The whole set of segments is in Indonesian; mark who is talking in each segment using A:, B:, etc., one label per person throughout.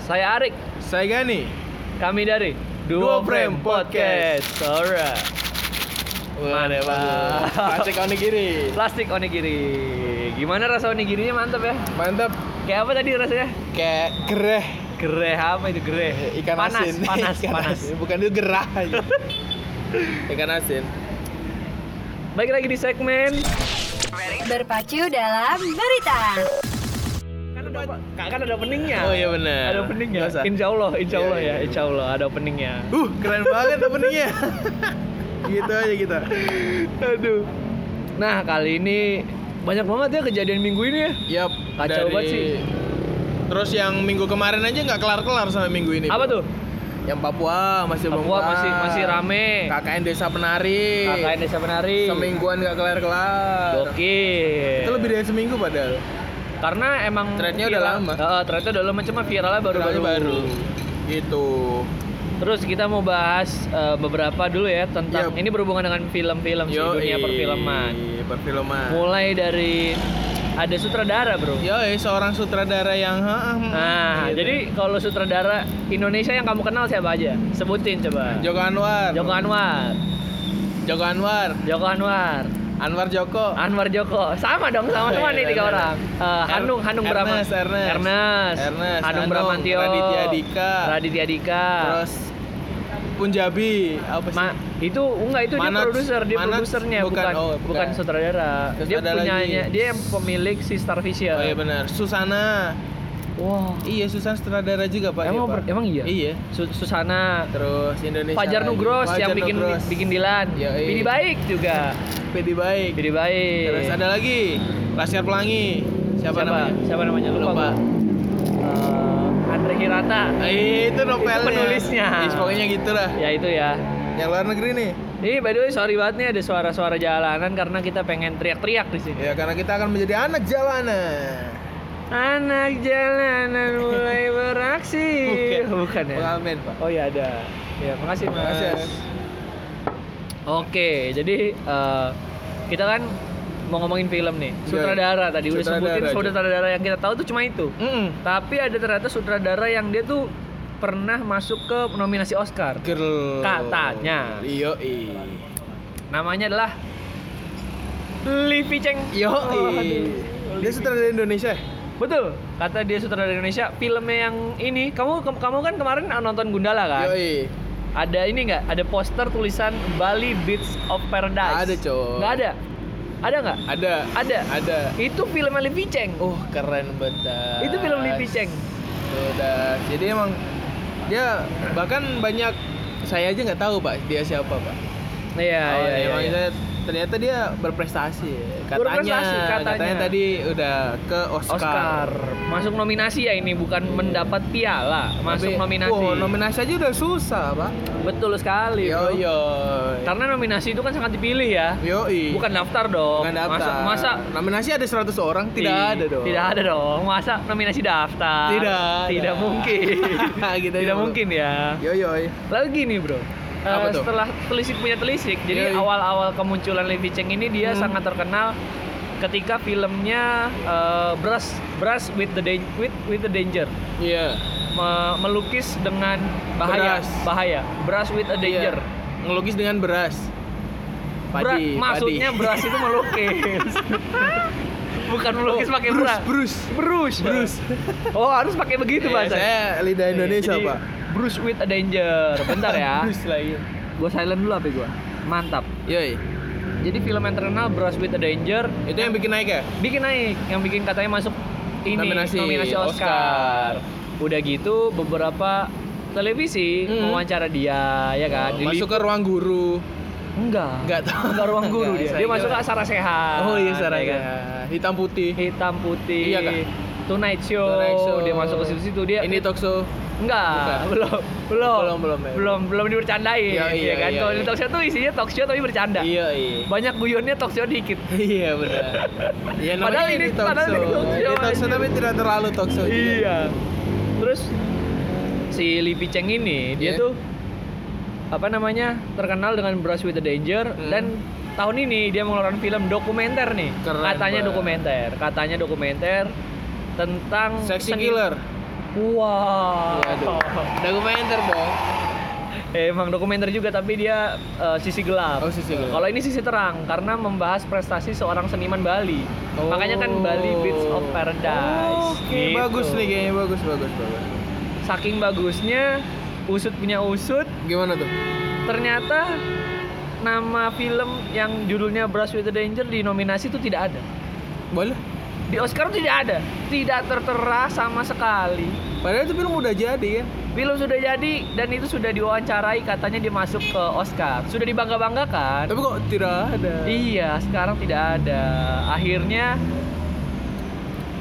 A: Saya Arik,
B: Saya Gani.
A: kami dari
B: Duo
A: Duo Frame
B: Frame
A: Podcast. Alright. Mantap.
B: Plastik kawan di kiri.
A: Plastik onigiri. Gimana rasa onigirinya mantap ya?
B: Mantap.
A: Kayak apa tadi rasanya?
B: Kayak gereh
A: Gereh apa itu gereh?
B: Eh, ikan
A: panas,
B: asin.
A: Panas,
B: Ikan
A: panas,
B: asin. Bukan itu gerah. aja. ikan asin.
A: Baik lagi di segmen.
C: Berpacu dalam berita.
A: Kan ada, kan ada peningnya.
B: Oh iya benar.
A: Ada peningnya.
B: Nggak usah.
A: Insya Allah, insya
B: Iya,
A: Allah
B: iya,
A: ya,
B: iya.
A: insya Allah ada peningnya.
B: Uh, keren banget openingnya. gitu aja kita.
A: Aduh. Nah kali ini banyak banget ya kejadian minggu ini ya.
B: Yap.
A: Kacau banget sih.
B: Terus yang minggu kemarin aja nggak kelar-kelar sampai minggu ini.
A: Apa
B: Bro.
A: tuh?
B: Yang Papua masih belum
A: Papua
B: kelar.
A: masih masih rame.
B: KKN Desa Penari.
A: KKN Desa Penari.
B: Semingguan nggak kelar-kelar.
A: Gokil.
B: Itu lebih dari seminggu padahal.
A: Karena emang
B: Threadnya udah
A: viral-
B: lama.
A: Heeh, threadnya udah lama cuma viralnya baru
B: Kenalnya
A: baru.
B: baru. Gitu.
A: Terus kita mau bahas eh, beberapa dulu ya tentang
B: Yap.
A: ini berhubungan dengan film-film sih
B: Yoi.
A: dunia perfilman.
B: Perfilman.
A: Mulai dari ada sutradara, Bro.
B: Yoi, seorang sutradara yang ha, ah, hmm,
A: Nah,
B: gitu.
A: jadi kalau sutradara Indonesia yang kamu kenal siapa aja? Sebutin coba.
B: Joko Anwar.
A: Joko Anwar.
B: Joko Anwar.
A: Joko Anwar.
B: Anwar Joko.
A: Anwar Joko sama dong sama semua
B: Iya,
A: nih tiga
B: benar.
A: orang Eh,
B: Er-
A: Hanung Hanung Brahma
B: Ernest, Ernest.
A: Ernest
B: Ernest,
A: Hanung
B: Hanung,
A: Bramantio
B: Raditya Dika.
A: Raditya Dika
B: Terus Punjabi apa sih?
A: Ma- itu enggak itu dia
B: Manats-
A: produser dia
B: Manats
A: produsernya
B: bukan,
A: bukan
B: oh,
A: bukan,
B: bukan.
A: sutradara
B: Terus
A: dia
B: ada
A: punyanya
B: lagi.
A: dia yang pemilik si Starvision
B: oh iya benar. Susana.
A: wow
B: Iya, Susana sutradara juga, Pak.
A: emang
B: dia,
A: ber-
B: Pak.
A: emang iya
B: Iya.
A: Su- Susana
B: Terus Indonesia.
A: Fajar
B: lagi.
A: Nugros
B: Fajar
A: yang bikin
B: Nugros.
A: bikin Dilan
B: Iya, iya.
A: Bini baik juga
B: PD baik.
A: Bini baik
B: Terus ada lagi Laskar Pelangi. Siapa, namanya?
A: siapa namanya lupa,
B: Lupa.
A: gua. Eh, Andre Hirata
B: Eh, itu novelnya.
A: penulisnya.
B: Ih, pokoknya gitu lah.
A: ya itu ya
B: Yang luar negeri nih.
A: Ih, by the way, sorry banget nih ada suara-suara jalanan karena kita pengen teriak-teriak di sini.
B: Ya karena kita akan menjadi anak jalanan.
A: Anak jalanan mulai beraksi. Bukan ya?
B: Pengamen, Pak.
A: Oh iya ada. Ya, makasih, Mas.
B: Makasih, ya.
A: Oke, jadi eh, kita kan mau ngomongin film nih.
B: Iya.
A: Sutradara tadi udah
B: Sutradara
A: sebutin
B: aja.
A: sutradara yang kita tahu tuh cuma itu.
B: Mm.
A: Tapi ada ternyata sutradara yang dia tuh pernah masuk ke nominasi Oscar.
B: Girl.
A: Katanya.
B: Iyo i.
A: Namanya adalah Livi Cheng.
B: Yo
A: Oh,
B: i.
A: aduh.
B: Dia sutradara Indonesia.
A: Betul, kata dia sutradara Indonesia. Filmnya yang ini, kamu ke- kamu kan kemarin nonton Gundala kan?
B: Yo i.
A: Ada ini nggak? Ada poster tulisan Bali Beach of Paradise.
B: Ada, coy.
A: Nggak ada. Ada nggak?
B: Ada.
A: Ada.
B: Ada.
A: Itu film Livi Cheng.
B: Oh keren banget.
A: Itu film Livi Cheng.
B: Udah. Jadi emang dia bahkan banyak saya aja nggak tahu pak dia siapa pak.
A: Iya,
B: oh,
A: iya,
B: emang
A: iya.
B: saya- ternyata dia berprestasi. Katanya,
A: Berprestasi, katanya.
B: tadi udah ke Oscar.
A: Oscar. Masuk nominasi ya ini, bukan mendapat piala, masuk
B: Tapi-
A: nominasi. Iya,
B: Wah, nominasi aja udah susah pak.
A: Betul sekali,
B: Yo
A: Bro.
B: yo.
A: Karena nominasi itu kan sangat dipilih ya.
B: Yo
A: Bukan daftar dong.
B: Iya. Bukan daftar.
A: Masa- masa
B: nominasi ada 100 orang? Tidak
A: Ih,
B: ada dong.
A: Tidak ada dong. Masa nominasi daftar?
B: Tidak.
A: Tidak
B: ada.
A: mungkin.
B: gitu aja,
A: Tidak
B: Bro.
A: mungkin ya.
B: Yo yo.
A: Lalu gini bro. Eh,
B: Apa tuh?
A: setelah telisik punya telisik, jadi
B: Yoi.
A: awal-awal kemunculan Levi Cheng ini dia
B: Hmm.
A: sangat terkenal ketika filmnya eh, Brush Brush with the Dan- with with the danger
B: Iya.
A: Me- melukis dengan bahaya
B: Beras.
A: bahaya Brush with a danger.
B: Iya. Ngelukis dengan beras.
A: Bra-
B: Padi,
A: maksudnya
B: padi.
A: brush itu melukis. Bukan melukis
B: Oh,
A: pakai
B: brus,
A: beras.
B: Brus.
A: Bruce.
B: Bruce.
A: Oh, harus pakai begitu
B: Iya,
A: bahasa.
B: Saya lidah Indonesia, Pak.
A: Bruce with a danger. Bentar ya.
B: Bruce lagi.
A: gue silent dulu apa gue. Mantap.
B: Yoi.
A: Jadi film yang terkenal Bruce with a danger
B: Itu yang bikin naik ya?
A: bikin naik yang bikin katanya masuk ini
B: Nominasi
A: Oscar. Udah gitu beberapa televisi
B: Hmm. Oh,
A: mewawancara dia ya kan. Di-
B: Masuk ke ruang guru.
A: enggak.
B: Enggak tahu.
A: Enggak ruang guru
B: Enggak,
A: dia.
B: saya
A: Dia
B: kira-
A: masuk ke acara sehat.
B: Oh iya,
A: ya
B: Sarah.
A: kan?
B: Hitam putih.
A: Hitam putih.
B: Iya, Kak.
A: Tonight show.
B: Tonight Show.
A: Dia masuk ke situ-situ dia.
B: Ini talk show.
A: Enggak,
B: Bukan.
A: belum, belum,
B: Belum, belum, ya.
A: belum, belum dibercandain,
B: Iya, iya,
A: ya kan?
B: iya,
A: Kalau di
B: iya.
A: talk show tuh isinya talk show tapi bercanda.
B: Iya, iya.
A: Banyak guyonnya talk show dikit.
B: Iya benar. Ya, namanya
A: Padahal ini- padahal ini Iya. talk show,
B: Ini talk show
A: anjir.
B: tapi tidak terlalu talk show. juga.
A: Terus si Lipi Cheng ini dia
B: Iya.
A: tuh apa namanya terkenal dengan Brush with the Danger
B: Hmm.
A: dan tahun ini dia mengeluarkan film dokumenter nih.
B: Keren
A: katanya
B: banget.
A: dokumenter, katanya dokumenter tentang
B: Sexy
A: seni- Oh.
B: killer.
A: Wow.
B: Waduh. Dokumenter dong.
A: Emang dokumenter juga tapi dia eh, sisi gelap.
B: Oh, sisi gelap.
A: Kalau ini sisi terang karena membahas prestasi seorang seniman Bali.
B: Oh.
A: Makanya kan Bali Beats of Paradise. Gitu.
B: Oke, bagus nih kayaknya bagus bagus bagus.
A: Saking bagusnya usut punya usut
B: Gimana tuh?
A: ternyata nama film yang judulnya Brush with the Danger di nominasi itu tidak ada.
B: Boleh.
A: Di Oscar tidak ada. Tidak tertera sama sekali.
B: Padahal itu film udah jadi kan.
A: Film sudah jadi dan itu sudah diwawancarai katanya dia masuk ke Oscar. Sudah dibangga-banggakan.
B: Tapi kok tidak ada.
A: Iya, sekarang tidak ada. Akhirnya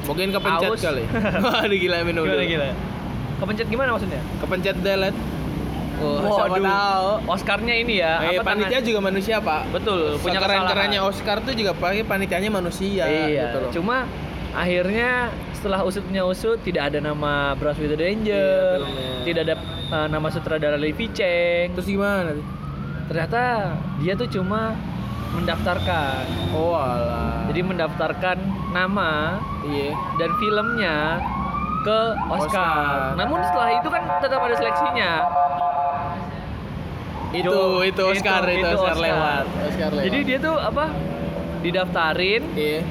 B: Mungkin kepencet
A: Aus.
B: kali. Waduh gila minum
A: gimana
B: dulu.
A: gila? Kepencet gimana maksudnya?
B: Kepencet delete. Oh, siapa
A: Waduh.
B: tahu.
A: Oscarnya ini ya, apa
B: Eh, panitia
A: tangan-
B: juga manusia, Pak.
A: Betul, punya
B: Sekeren-kerennya
A: kesalahan.
B: Oscar tuh juga pakai panitianya manusia
A: iya,
B: gitu loh.
A: cuma akhirnya setelah usut punya usut tidak ada nama Brush with the
B: Iya,
A: Danger,
B: filmnya.
A: tidak ada eh, nama sutradara Levi Cheng.
B: Terus gimana? tuh?
A: Ternyata dia tuh cuma mendaftarkan.
B: Oh, alah.
A: Jadi mendaftarkan nama
B: iya.
A: dan filmnya ke Oscar.
B: Oscar.
A: Namun setelah itu kan tetap ada seleksinya.
B: Itu,
A: Yo,
B: itu Oscar, itu, Oscar, lewat. Oscar lewat.
A: Jadi dia tuh apa? Didaftarin,
B: Iya.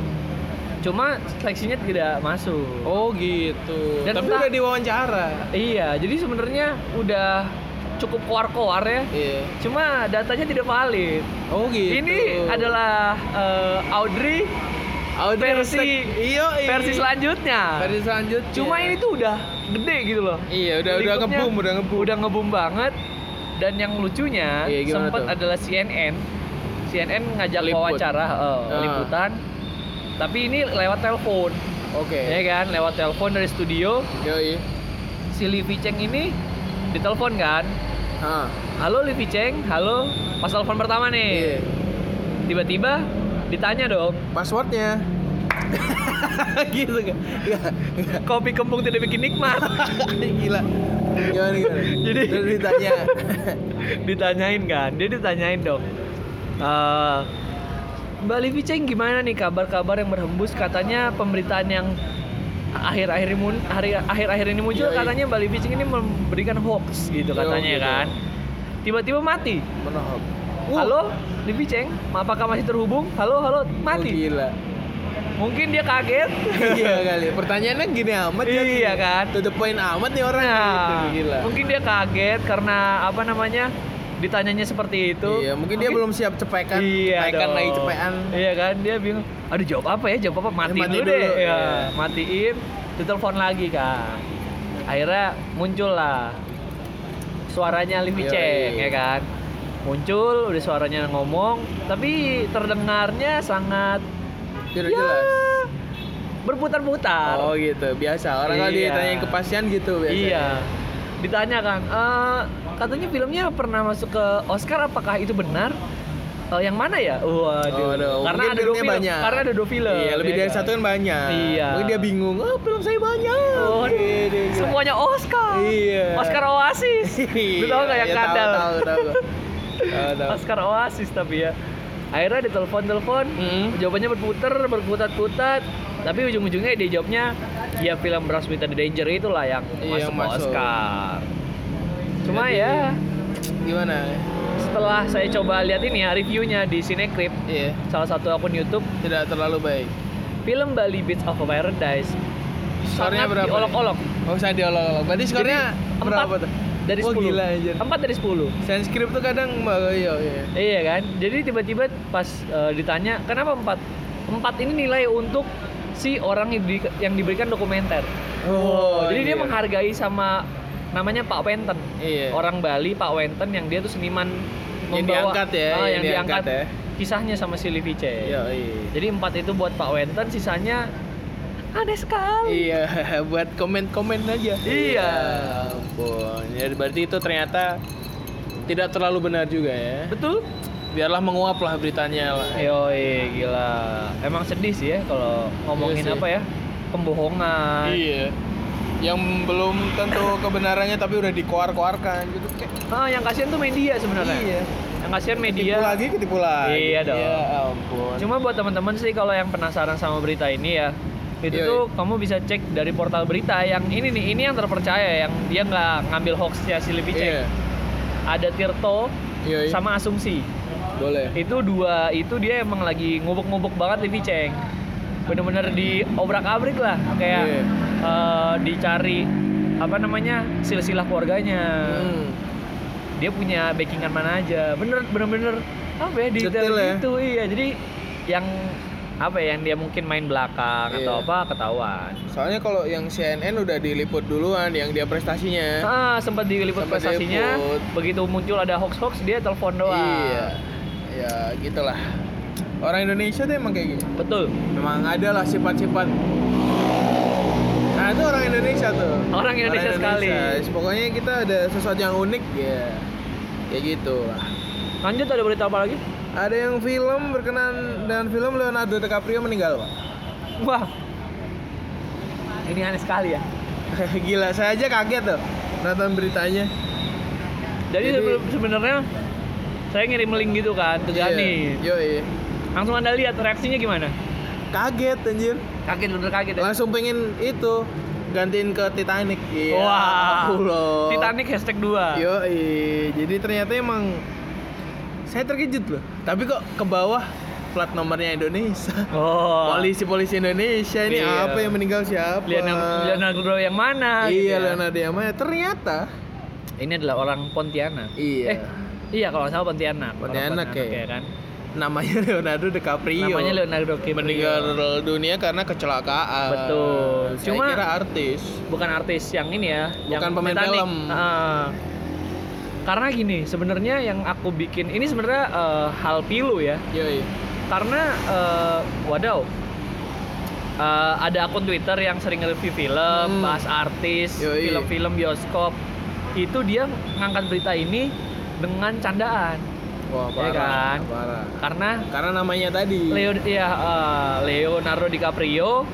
A: cuma seleksinya tidak masuk.
B: Oh, gitu.
A: Dan
B: Tapi
A: entah-
B: udah diwawancara.
A: Iya, jadi sebenarnya udah cukup koar-koar ya.
B: Iya.
A: Cuma datanya tidak valid.
B: Oh, gitu.
A: Ini adalah eh, Audrey
B: Audrey
A: versi-
B: Restek. Iya, iya.
A: versi selanjutnya.
B: Versi selanjutnya.
A: Cuma ini tuh udah gede gitu loh.
B: Iya, udah udah
A: Lingkupnya
B: ngebum, udah ngebum.
A: udah ngebum banget dan yang lucunya
B: Iya, gimana
A: sempat
B: tuh?
A: adalah CNN CNN ngajak
B: Liput.
A: wawancara eh,
B: Ah.
A: liputan tapi ini lewat telepon
B: Oke.
A: ya kan lewat telepon dari studio
B: Yo, iya.
A: si Livi Cheng ini ditelepon kan
B: Ah.
A: halo Livi Cheng halo pas telepon pertama
B: Iya.
A: nih tiba-tiba ditanya dong
B: Passwordnya. gitu kan.
A: kopi kembung tidak bikin nikmat
B: gila. Gimana gimana?
A: Jadi-
B: Terus ditanya.
A: ditanyain kan dia ditanyain dong Eh, Mbak Livi Cheng gimana nih kabar-kabar yang berhembus katanya pemberitaan yang akhir-akhir ini mun- hari akhir-akhir ini muncul
B: Iya, iya.
A: katanya Mbak Livi Cheng ini memberikan hoax gitu
B: Yo,
A: katanya
B: gitu.
A: kan tiba-tiba mati
B: Menohok.
A: halo Livi Cheng apakah masih terhubung halo halo
B: Oh,
A: mati
B: gila.
A: mungkin dia kaget
B: iya kali. Pertanyaannya gini amat ya.
A: Iya kan?
B: To the point amat nih orang.
A: Nah,
B: Gitu, gila.
A: mungkin dia kaget karena apa namanya ditanyanya seperti itu
B: Iya, mungkin dia belum siap cepekan.
A: iya
B: Cepekan
A: dong.
B: lagi cepekan.
A: iya kan dia bingung aduh jawab apa ya jawab apa matiin
B: Ya, mati
A: dulu, deh
B: dulu,
A: Iya,
B: iya.
A: matiin ditelepon lagi kan akhirnya muncul lah suaranya Livi
B: Yoi.
A: Cheng ya kan muncul udah suaranya ngomong tapi terdengarnya sangat
B: Tidak
A: ya,
B: jelas.
A: berputar-putar
B: Oh gitu, biasa. Orang kalau
A: Iya.
B: ditanyain kepastian gitu biasanya.
A: Iya. Ditanya kan, "Eh, katanya filmnya pernah masuk ke Oscar, apakah itu benar? Eh, yang mana ya? Waduh.
B: Waduh,
A: karena
B: mungkin
A: ada dua
B: filmnya
A: film.
B: ya banyak.
A: Karena ada dua film.
B: Iya, lebih
A: ya
B: dari satu kan banyak.
A: Iya.
B: Mungkin dia bingung, oh film saya banyak.
A: Oh,
B: Iya, dia gila.
A: semuanya Oscar.
B: Iya.
A: Oscar Oasis. Lu tau nggak yang
B: Iya,
A: kadal?
B: Tahu, tahu, tahu. Tahu, tahu.
A: Oscar Oasis tapi ya. Akhirnya ditelepon-telepon,
B: Mm.
A: jawabannya berputar, berputat-putat. Tapi ujung-ujungnya dia jawabnya, ya film Brush with the Danger itulah yang masuk,
B: Iya,
A: ke
B: masuk.
A: Oscar. Cuma
B: Jadi-
A: ya,
B: Gimana?
A: setelah saya coba lihat ini ya reviewnya di Cinecrip
B: Iya,
A: salah satu akun YouTube
B: tidak terlalu baik.
A: film Bali Beats of Paradise
B: Skornya
A: sangat
B: berapa? nih?
A: diolok-olok
B: Oh, saya diolok-olok. Berarti skornya
A: Jadi,
B: berapa
A: empat
B: tuh?
A: dari
B: Wah,
A: 10
B: gila anjir.
A: 4 dari 10
B: Sanskrit tuh kadang mbak iya, iya.
A: iya kan jadi tiba-tiba pas eh, ditanya kenapa 4 4 ini nilai untuk si orang yang, di- yang diberikan dokumenter
B: Oh,
A: jadi dia
B: iya.
A: menghargai sama namanya Pak Wenten
B: Iya.
A: orang Bali Pak Wenten yang dia tuh seniman
B: Yang
A: membawa-
B: diangkat ya,
A: Ah,
B: yang
A: yang, diangkat,
B: diangkat ya.
A: kisahnya sama si Livi Cheng.
B: Iya, iya.
A: Jadi empat itu buat Pak Wenten, sisanya aneh sekali.
B: Iya, buat komen-komen
A: Iya.
B: aja. Ya ampun. Ya, berarti itu ternyata tidak terlalu benar juga ya.
A: Betul?
B: Biarlah menguap lah beritanya lah.
A: Iya. Yoi, gila. Emang sedih sih ya kalau ngomongin
B: Iya sih.
A: apa ya? Pembohongan.
B: Iya. Yang belum tentu kebenarannya tapi udah dikoar-koarkan gitu kayak
A: Ah, yang kasihan tuh media sebenarnya.
B: Iya.
A: Yang kasihan media.
B: Ketipu lagi ketipu lagi.
A: Iya dong.
B: Ya ampun.
A: Cuma buat teman-teman sih kalau yang penasaran sama berita ini ya itu
B: Yoi.
A: tuh kamu bisa cek dari portal berita yang ini nih ini yang terpercaya yang dia nggak ngambil hoaxnya si Livi Ceng
B: Iya.
A: ada Tirto
B: Yoi.
A: sama Iya. Asumsi
B: Boleh.
A: itu dua itu dia emang lagi ngubuk-ngubuk banget Livi Ceng bener-bener diobrak-abrik lah kayak
B: Iya.
A: eh, dicari apa namanya silsilah keluarganya
B: Hmm.
A: dia punya backingan mana aja bener bener-bener apa ya detail,
B: Detail ya.
A: gitu iya jadi yang apa ya yang dia mungkin main belakang atau
B: Iya.
A: apa ketahuan
B: Soalnya kalau yang CNN udah diliput duluan yang dia prestasinya.
A: ah sempat diliput
B: Iya. Sempat
A: prestasinya
B: diliput.
A: begitu muncul ada hoax hoax dia telepon doang
B: Iya. Ya gitulah. Orang Indonesia tuh emang kayak gitu.
A: betul
B: Memang ada lah sifat-sifat. Nah itu orang Indonesia tuh.
A: Orang Indonesia sekali.
B: Pokoknya kita ada sesuatu yang unik ya. Kayak gitu lah.
A: lanjut ada berita apa lagi
B: Ada yang film berkenan dengan film Leonardo DiCaprio meninggal pak.
A: wah ini aneh sekali ya
B: Gila saya aja kaget tuh nonton beritanya.
A: jadi,
B: Jadi-
A: sebe- sebenarnya saya ngirim link gitu kan ke Gani
B: Iya, Yoi.
A: langsung anda lihat reaksinya gimana
B: Kaget anjir.
A: kaget bener kaget ya?
B: Langsung pengen itu gantiin ke Titanic. Iya.
A: Wah.
B: aku loh. Iya.
A: Titanic hashtag 2
B: Yoi. Jadi ternyata emang saya terkejut loh. Tapi kok ke bawah plat nomornya Indonesia.
A: oh
B: Polisi-polisi Indonesia ini
A: Iya.
B: apa yang meninggal siapa?
A: Leonardo, Leonardo yang mana gitu
B: Iya,
A: ya.
B: Leonardo yang mana? Ternyata
A: ini adalah orang Pontianak
B: Iya.
A: eh, iya kalau nggak salah Pontianak Orang
B: Pontianak, ya.
A: ya kan
B: namanya Leonardo DiCaprio.
A: namanya Leonardo DiCaprio
B: meninggal dunia karena kecelakaan.
A: Betul.
B: Saya
A: Cuma-
B: kira artis.
A: bukan artis yang ini ya yang
B: Bukan pemain
A: Titanic.
B: film.
A: Ah. karena gini sebenarnya yang aku bikin ini sebenarnya eh, hal pilu ya
B: Yoi.
A: karena eh, wadaw eh, ada akun Twitter yang sering review film,
B: Hmm.
A: bahas artis,
B: Yoi.
A: film-film bioskop. Itu dia ngangkat berita ini dengan candaan.
B: Wah,
A: Iya
B: parah.
A: kan?
B: Parah.
A: Karena
B: Karena namanya tadi.
A: Leo ya eh, Leonardo DiCaprio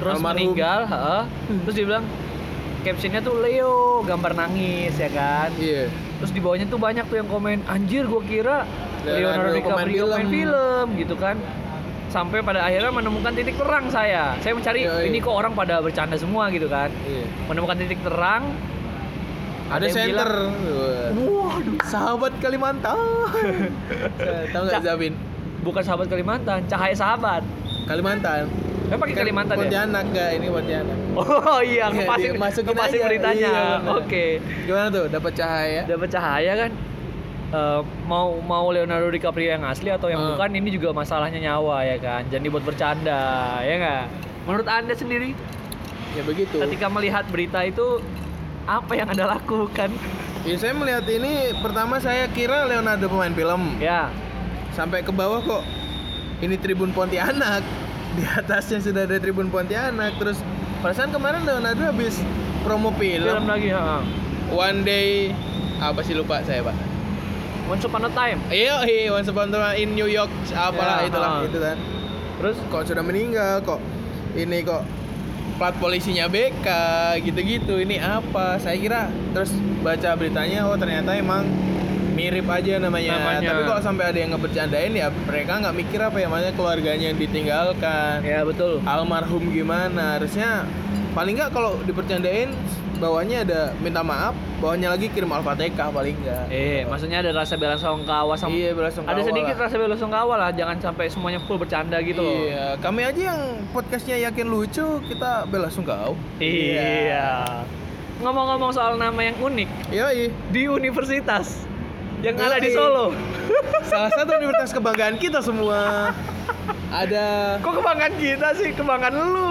A: terus
B: Almarhum. Hmm.
A: meninggal, heeh. terus dibilang captionnya tuh Leo gambar nangis ya kan.
B: Iya.
A: Terus di bawahnya tuh banyak tuh yang komen, anjir gua kira Leonardo
B: Leonardo
A: DiCaprio
B: pemain
A: main
B: film."
A: film gitu kan. Sampai pada akhirnya menemukan titik terang saya. Saya mencari
B: Yoi.
A: ini kok orang pada bercanda semua gitu kan.
B: Iya.
A: Menemukan titik terang. Ada
B: Ada
A: yang
B: center.
A: Waduh,
B: Sahabat Kalimantan. Eh, Tahu nggak
A: Cak.
B: Zabin?
A: bukan sahabat Kalimantan, cahaya sahabat.
B: Kalimantan.
A: Emang pakai
B: Kan
A: Kalimantan ya?
B: Pontianak nggak ini Pontianak.
A: Oh iya,
B: Iya,
A: ngepasin,
B: dia masukin
A: ngepasin
B: aja.
A: beritanya.
B: Iya, benar.
A: Oke.
B: Gimana tuh? Dapat cahaya?
A: Dapat cahaya kan. Eh, mau mau Leonardo DiCaprio yang asli atau yang
B: Eh.
A: bukan ini juga masalahnya nyawa ya kan. Jangan dibuat bercanda, ya nggak? Menurut Anda sendiri
B: Ya begitu.
A: ketika melihat berita itu apa yang Anda lakukan?
B: Ya, saya melihat ini pertama saya kira Leonardo pemain film.
A: Ya.
B: Sampai ke bawah kok ini Tribun Pontianak. Di atasnya sudah ada Tribun Pontianak. Terus perasaan kemarin Leonardo habis promo
A: Film
B: film.
A: lagi, heeh.
B: One Day apa sih lupa saya, Pak?
A: Once upon a time.
B: Iya, iya, Once Upon a Time in New York, apalah
A: Ya,
B: itulah
A: ha.
B: itu kan.
A: Terus
B: Kok sudah meninggal kok ini kok plat polisinya BK gitu-gitu. Ini apa? Saya kira terus baca beritanya oh ternyata emang mirip aja namanya.
A: Namanya.
B: Tapi kalau sampai ada yang ngebercandain ya mereka nggak mikir apa ya namanya keluarganya yang ditinggalkan.
A: ya betul.
B: Almarhum gimana? Harusnya paling nggak kalau dipercandain bawahnya ada minta maaf, bawahnya lagi kirim Al-Fatihah balik nggak.
A: Eh, maksudnya ada rasa bela sungkawa sama
B: Iya, belasungkawa
A: Ada sedikit
B: lah.
A: rasa bela sungkawa lah, jangan sampai semuanya full bercanda gitu loh.
B: Iya, kami aja yang podcastnya yakin lucu, kita bela sungkaw.
A: Iya. Ngomong-ngomong soal nama yang unik
B: Iya. Yoi,
A: di universitas yang ada di
B: Yoi.
A: Solo.
B: salah satu universitas kebanggaan kita semua. Ada Eh,
A: Kok kebanggaan kita sih? Kebanggaan lu.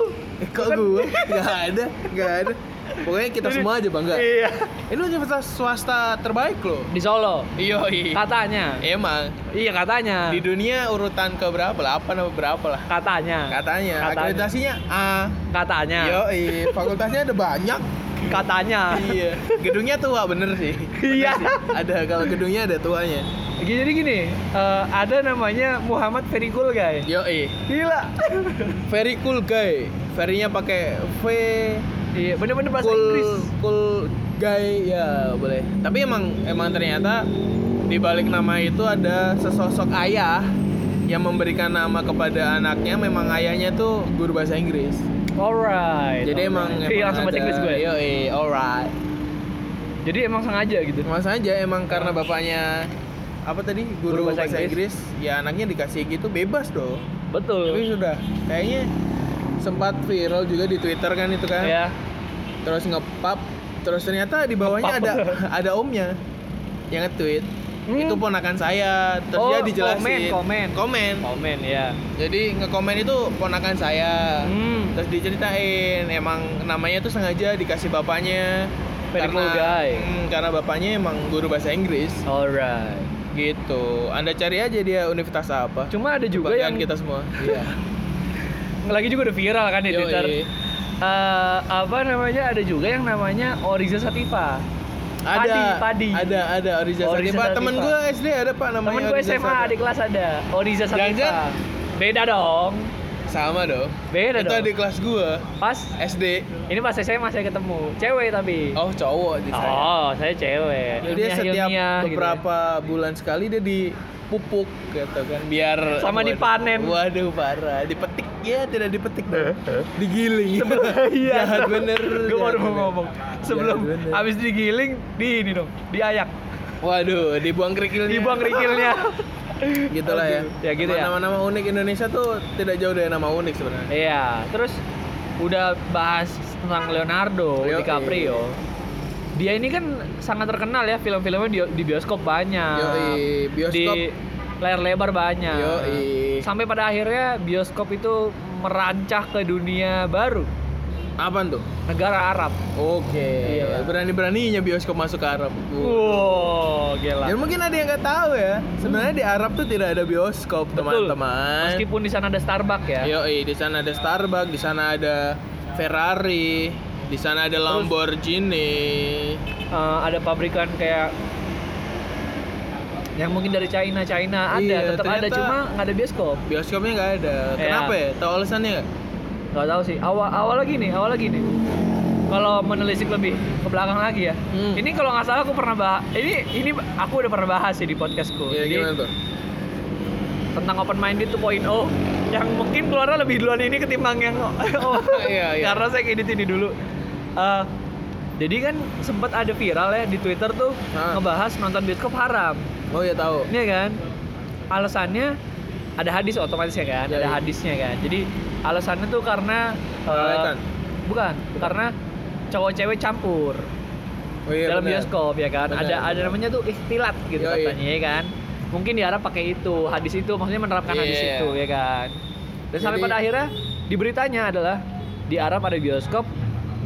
B: kok gue? Gak ada, gak ada. Pokoknya kita
A: Jadi-
B: semua aja bangga.
A: Iya.
B: Ini universitas swasta terbaik loh.
A: Di Solo.
B: Yoi.
A: Katanya.
B: Emang
A: Iya katanya.
B: di dunia urutan ke berapa lah? Apa nama berapa lah?
A: Katanya. Katanya.
B: Katanya,
A: Ya.
B: akreditasinya A.
A: Katanya.
B: Yoi, fakultasnya ada banyak.
A: Katanya.
B: Iya. Gedungnya tua bener sih. Bener
A: Ah. Iya.
B: sih. Ada kalau gedungnya ada tuanya.
A: Jadi gini, eh, ada namanya Muhammad Ferikul guys.
B: Yoi.
A: Gila.
B: Very cool guy. Very-nya pakai V.
A: iya, bener-bener bahasa
B: cool,
A: Inggris.
B: cool guy ya boleh. Tapi emang emang ternyata di balik nama itu ada sesosok ayah yang memberikan nama kepada anaknya memang ayahnya tuh guru bahasa Inggris.
A: Alright.
B: Jadi emang
A: alright.
B: emang
A: Iya, langsung bahasa
B: ada-
A: Inggris gue.
B: Yoi, alright.
A: Jadi emang sengaja gitu.
B: Mas aja emang karena bapaknya apa tadi guru, bahasa, Inggris. ya anaknya dikasih gitu bebas dong. Tapi
A: Betul.
B: sudah kayaknya sempat viral juga di Twitter kan itu kan.
A: Ya.
B: Terus ngepap, terus ternyata di bawahnya ada
A: Nge-pub.
B: ada omnya yang nge-tweet.
A: Hmm.
B: Itu ponakan saya. Terus
A: Oh,
B: dia dijelasin.
A: komen, komen.
B: Komen.
A: Komen ya.
B: Jadi ngekomen itu ponakan saya.
A: Hmm.
B: Terus diceritain emang namanya tuh sengaja dikasih bapaknya
A: Very cool guy.
B: Hmm, karena bapaknya emang guru bahasa Inggris
A: Alright.
B: gitu. Anda cari aja dia universitas apa.
A: Cuma ada juga yang
B: Kebanggaan kita semua. Iya.
A: lagi juga udah viral kan di
B: Yoi.
A: Twitter. Eh, apa namanya ada juga yang namanya Oriza Sativa.
B: Ada,
A: Padi, Padi.
B: ada, ada Oriza
A: Oriza
B: Sativa. Temen
A: Sativa.
B: gue SD ada pak namanya
A: Temen gue
B: Oriza
A: SMA
B: Sativa.
A: adik kelas ada Oriza Sativa.
B: Jangan-jangan-
A: Beda dong.
B: Sama dong.
A: Beda
B: itu
A: dong.
B: adik kelas gue
A: Pas
B: SD.
A: ini pas SMA saya ketemu cewek tapi.
B: Oh cowok di saya.
A: Oh, saya cewek.
B: Jadi dia
A: Ilmiah-
B: setiap
A: ilmiah gitu ya.
B: beberapa bulan sekali dia dipupuk gitu kan biar
A: Sama
B: waduh,
A: dipanen.
B: Waduh parah, dipetik ya tidak dipetik dong. Digiling.
A: Eh, Iya.
B: Jahat bener.
A: Gue baru
B: jahat
A: mau
B: Iya, bener.
A: ngomong. Sebelum
B: Jahat bener.
A: habis digiling di ini dong, diayak.
B: Waduh, dibuang kerikilnya.
A: Dibuang kerikilnya.
B: gitu lah ya.
A: Aduh, ya gitu ya.
B: Nama-nama unik Indonesia tuh tidak jauh dari nama unik sebenarnya.
A: Iya, terus udah bahas tentang Leonardo
B: Yoi.
A: DiCaprio. Dia ini kan sangat terkenal ya film-filmnya di, di bioskop banyak.
B: Yoi, bioskop.
A: Di layar lebar banyak.
B: Yoi.
A: Sampai pada akhirnya bioskop itu merancah ke dunia baru,
B: Apaan tuh?
A: negara Arab.
B: Oke.
A: Iya. Uh,
B: Berani-beraninya bioskop masuk ke Arab.
A: Wow, gila.
B: Dan mungkin ada yang nggak tahu ya, sebenarnya di Arab tuh tidak ada bioskop,
A: Betul.
B: teman-teman.
A: Meskipun di sana ada Starbucks ya.
B: Yoi, di sana ada Starbucks, di sana ada Ferrari, di sana ada Lamborghini.
A: Eh, ada pabrikan kayak yang mungkin dari China China ada
B: Iya,
A: tetap ada
B: ternyata-
A: cuma nggak ada bioskop
B: Bioskopnya nggak ada.
A: Iya.
B: Kenapa ya? Tahu alasannya nggak?
A: nggak tahu sih awal awal lagi nih awal lagi nih kalau menelisik lebih ke belakang lagi ya
B: Hmm.
A: ini kalau nggak salah aku pernah bahas ini ini aku udah pernah bahas sih di podcastku
B: Iya,
A: Jadi,
B: gimana tuh?
A: tentang open minded 2.0 oh, yang mungkin keluarnya lebih duluan ini ketimbang yang oh,
B: Iya, iya.
A: karena saya ngedit ini dulu Eh, jadi kan sempat ada viral ya di Twitter tuh
B: Ah.
A: ngebahas nonton bioskop haram
B: Oh ya tahu.
A: Iya kan? Alasannya ada hadis otomatis ya kan?
B: Ya,
A: ada
B: iya.
A: hadisnya kan. Jadi alasannya tuh karena eh,
B: Kelalekan?
A: bukan, karena cowok cewek campur
B: Oh iya,
A: dalam
B: benar.
A: bioskop ya kan.
B: Benar,
A: ada ada
B: benar.
A: namanya tuh ikhtilat gitu
B: Yoi.
A: katanya ya kan. Mungkin diharap pakai itu, hadis itu maksudnya menerapkan hadis
B: Iya.
A: itu ya kan. Dan sampai
B: Jadi-
A: pada akhirnya di beritanya adalah di Arab ada bioskop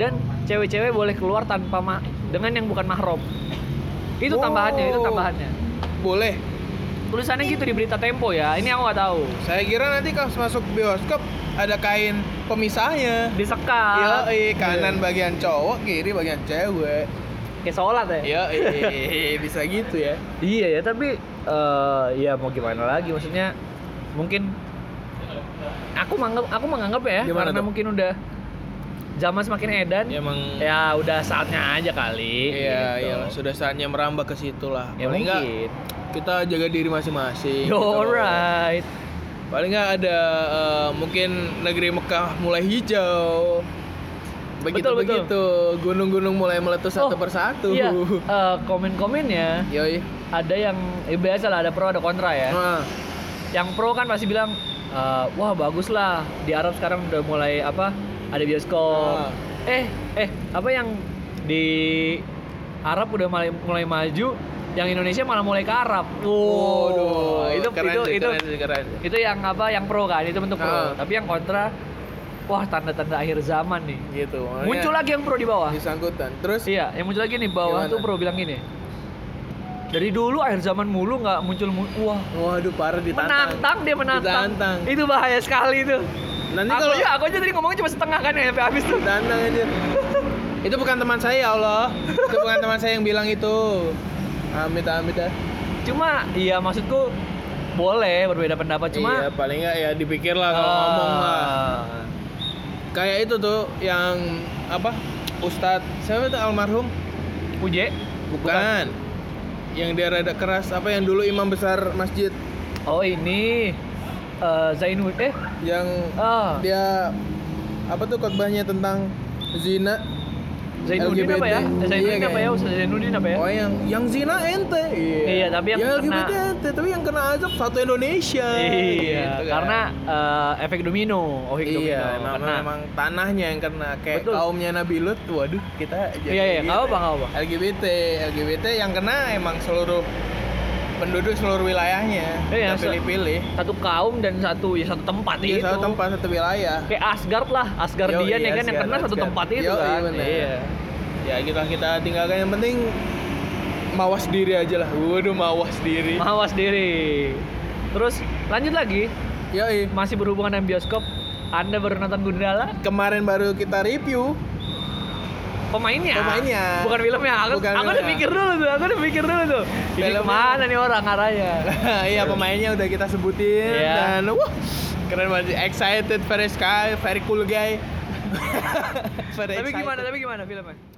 A: dan cewek-cewek boleh keluar tanpa ma- dengan yang bukan mahram. Itu tambahannya, itu
B: Wow.
A: tambahannya.
B: Boleh.
A: Tulisannya gitu di berita Tempo ya. Ini aku nggak tahu.
B: Saya kira nanti kalau masuk bioskop ada kain pemisahnya.
A: Disekat. Iya.
B: Yoi, kanan bagian cowok, kiri bagian cewek.
A: Kayak sholat ya.
B: Iya. Yoi, bisa gitu ya.
A: Iya ya, tapi eh, ya mau gimana lagi maksudnya mungkin aku menganggap aku menganggap ya
B: Gimana
A: karena
B: tuh?
A: mungkin udah zaman semakin edan. Ya,
B: Emang
A: udah saatnya aja kali.
B: Iya,
A: gitu.
B: iya, sudah saatnya merambah ke situ lah.
A: Ya
B: Paling nggak gitu.
A: mungkin.
B: kita jaga diri masing-masing.
A: Yo,
B: gitu.
A: alright.
B: Paling nggak ada eh, mungkin negeri Mekah mulai hijau. Begitu
A: Betul, betul.
B: begitu, gunung-gunung mulai meletus satu
A: Oh,
B: persatu.
A: Iya, eh, komen-komennya
B: Yoi.
A: ada yang eh, biasa lah ada pro ada kontra ya.
B: Nah,
A: yang pro kan pasti bilang "Eh, wah bagus lah di Arab sekarang udah mulai apa ada bioskop
B: Ah.
A: eh eh apa yang di Arab udah mulai mulai maju yang Indonesia malah mulai ke Arab
B: waduh,
A: Waduh, Oh, itu
B: keren
A: itu
B: sih,
A: itu
B: keren sih, keren.
A: itu yang apa yang pro kan itu bentuk pro
B: Ah.
A: tapi yang kontra wah tanda-tanda akhir zaman nih
B: Gitu. makanya
A: muncul lagi yang pro di bawah
B: disangkutan. Terus
A: Iya, yang muncul lagi nih bawah
B: Gimana?
A: tuh pro bilang gini. Dari dulu akhir zaman mulu nggak muncul mu- wah
B: waduh parah ditantang.
A: menantang dia menantang.
B: Ditantang.
A: Itu bahaya sekali itu.
B: Nanti
A: aku
B: kalau
A: aja, aku aja tadi ngomongnya cuma setengah kan ya sampai habis tuh.
B: Danang aja. itu bukan teman saya ya Allah. Itu bukan teman saya yang bilang itu. Amit amit dah.
A: Cuma iya maksudku boleh berbeda pendapat
B: iya,
A: cuma
B: paling nggak ya dipikir lah kalau
A: Ah,
B: ngomong lah. Kayak itu tuh yang apa? Ustadz siapa itu almarhum?
A: Uje?
B: Bukan. Yang dia rada keras apa yang dulu imam besar masjid
A: Oh ini eh, Zainud eh
B: yang
A: ah
B: dia apa tuh khotbahnya tentang zina
A: Zainuddin
B: LGBT.
A: apa ya? Eh, Zainuddin
B: Iya,
A: apa ya?
B: kayaknya.
A: Ustaz Zainuddin apa ya?
B: Oh yang yang zina ente. Iya,
A: Iya, tapi yang
B: LGBT
A: kena-
B: ente, tapi yang kena azab satu Indonesia.
A: Iya,
B: Gitu kan.
A: karena eh, efek domino, efek
B: iya,
A: domino.
B: memang,
A: karena
B: memang tanahnya yang kena kayak
A: Betul.
B: kaumnya Nabi Lut. Waduh, kita jadi
A: Iya, iya,
B: gitu.
A: nggak apa-apa, nggak apa-apa.
B: LGBT, LGBT yang kena emang seluruh penduduk seluruh wilayahnya.
A: Iya,
B: Nggak
A: se-
B: pilih-pilih.
A: satu kaum dan satu ya satu tempat
B: Iya,
A: itu.
B: satu tempat satu wilayah.
A: Kayak Asgard lah, Asgardian
B: Yo,
A: ya
B: iya,
A: kan yang
B: Asgard,
A: kena satu
B: Asgard.
A: tempat itu
B: Yo, iya,
A: kan.
B: benar. Ya kita kita tinggalkan yang penting mawas diri aja lah. Waduh, mawas diri.
A: Mawas diri. Terus lanjut lagi,
B: Yoi.
A: masih berhubungan dengan bioskop. Anda baru nonton Gundala,
B: Kemarin baru kita review
A: pemainnya.
B: Pemainnya.
A: Bukan filmnya. Aku
B: Bukan
A: aku udah
B: filmnya.
A: pikir dulu tuh, aku udah pikir dulu tuh. Ini
B: Filmnya.
A: kemana nih orang arahnya?
B: iya pemainnya udah kita sebutin
A: Iya.
B: dan wah keren banget excited very sky very cool guy Very
A: Tapi
B: excited.
A: gimana? Tapi gimana filmnya?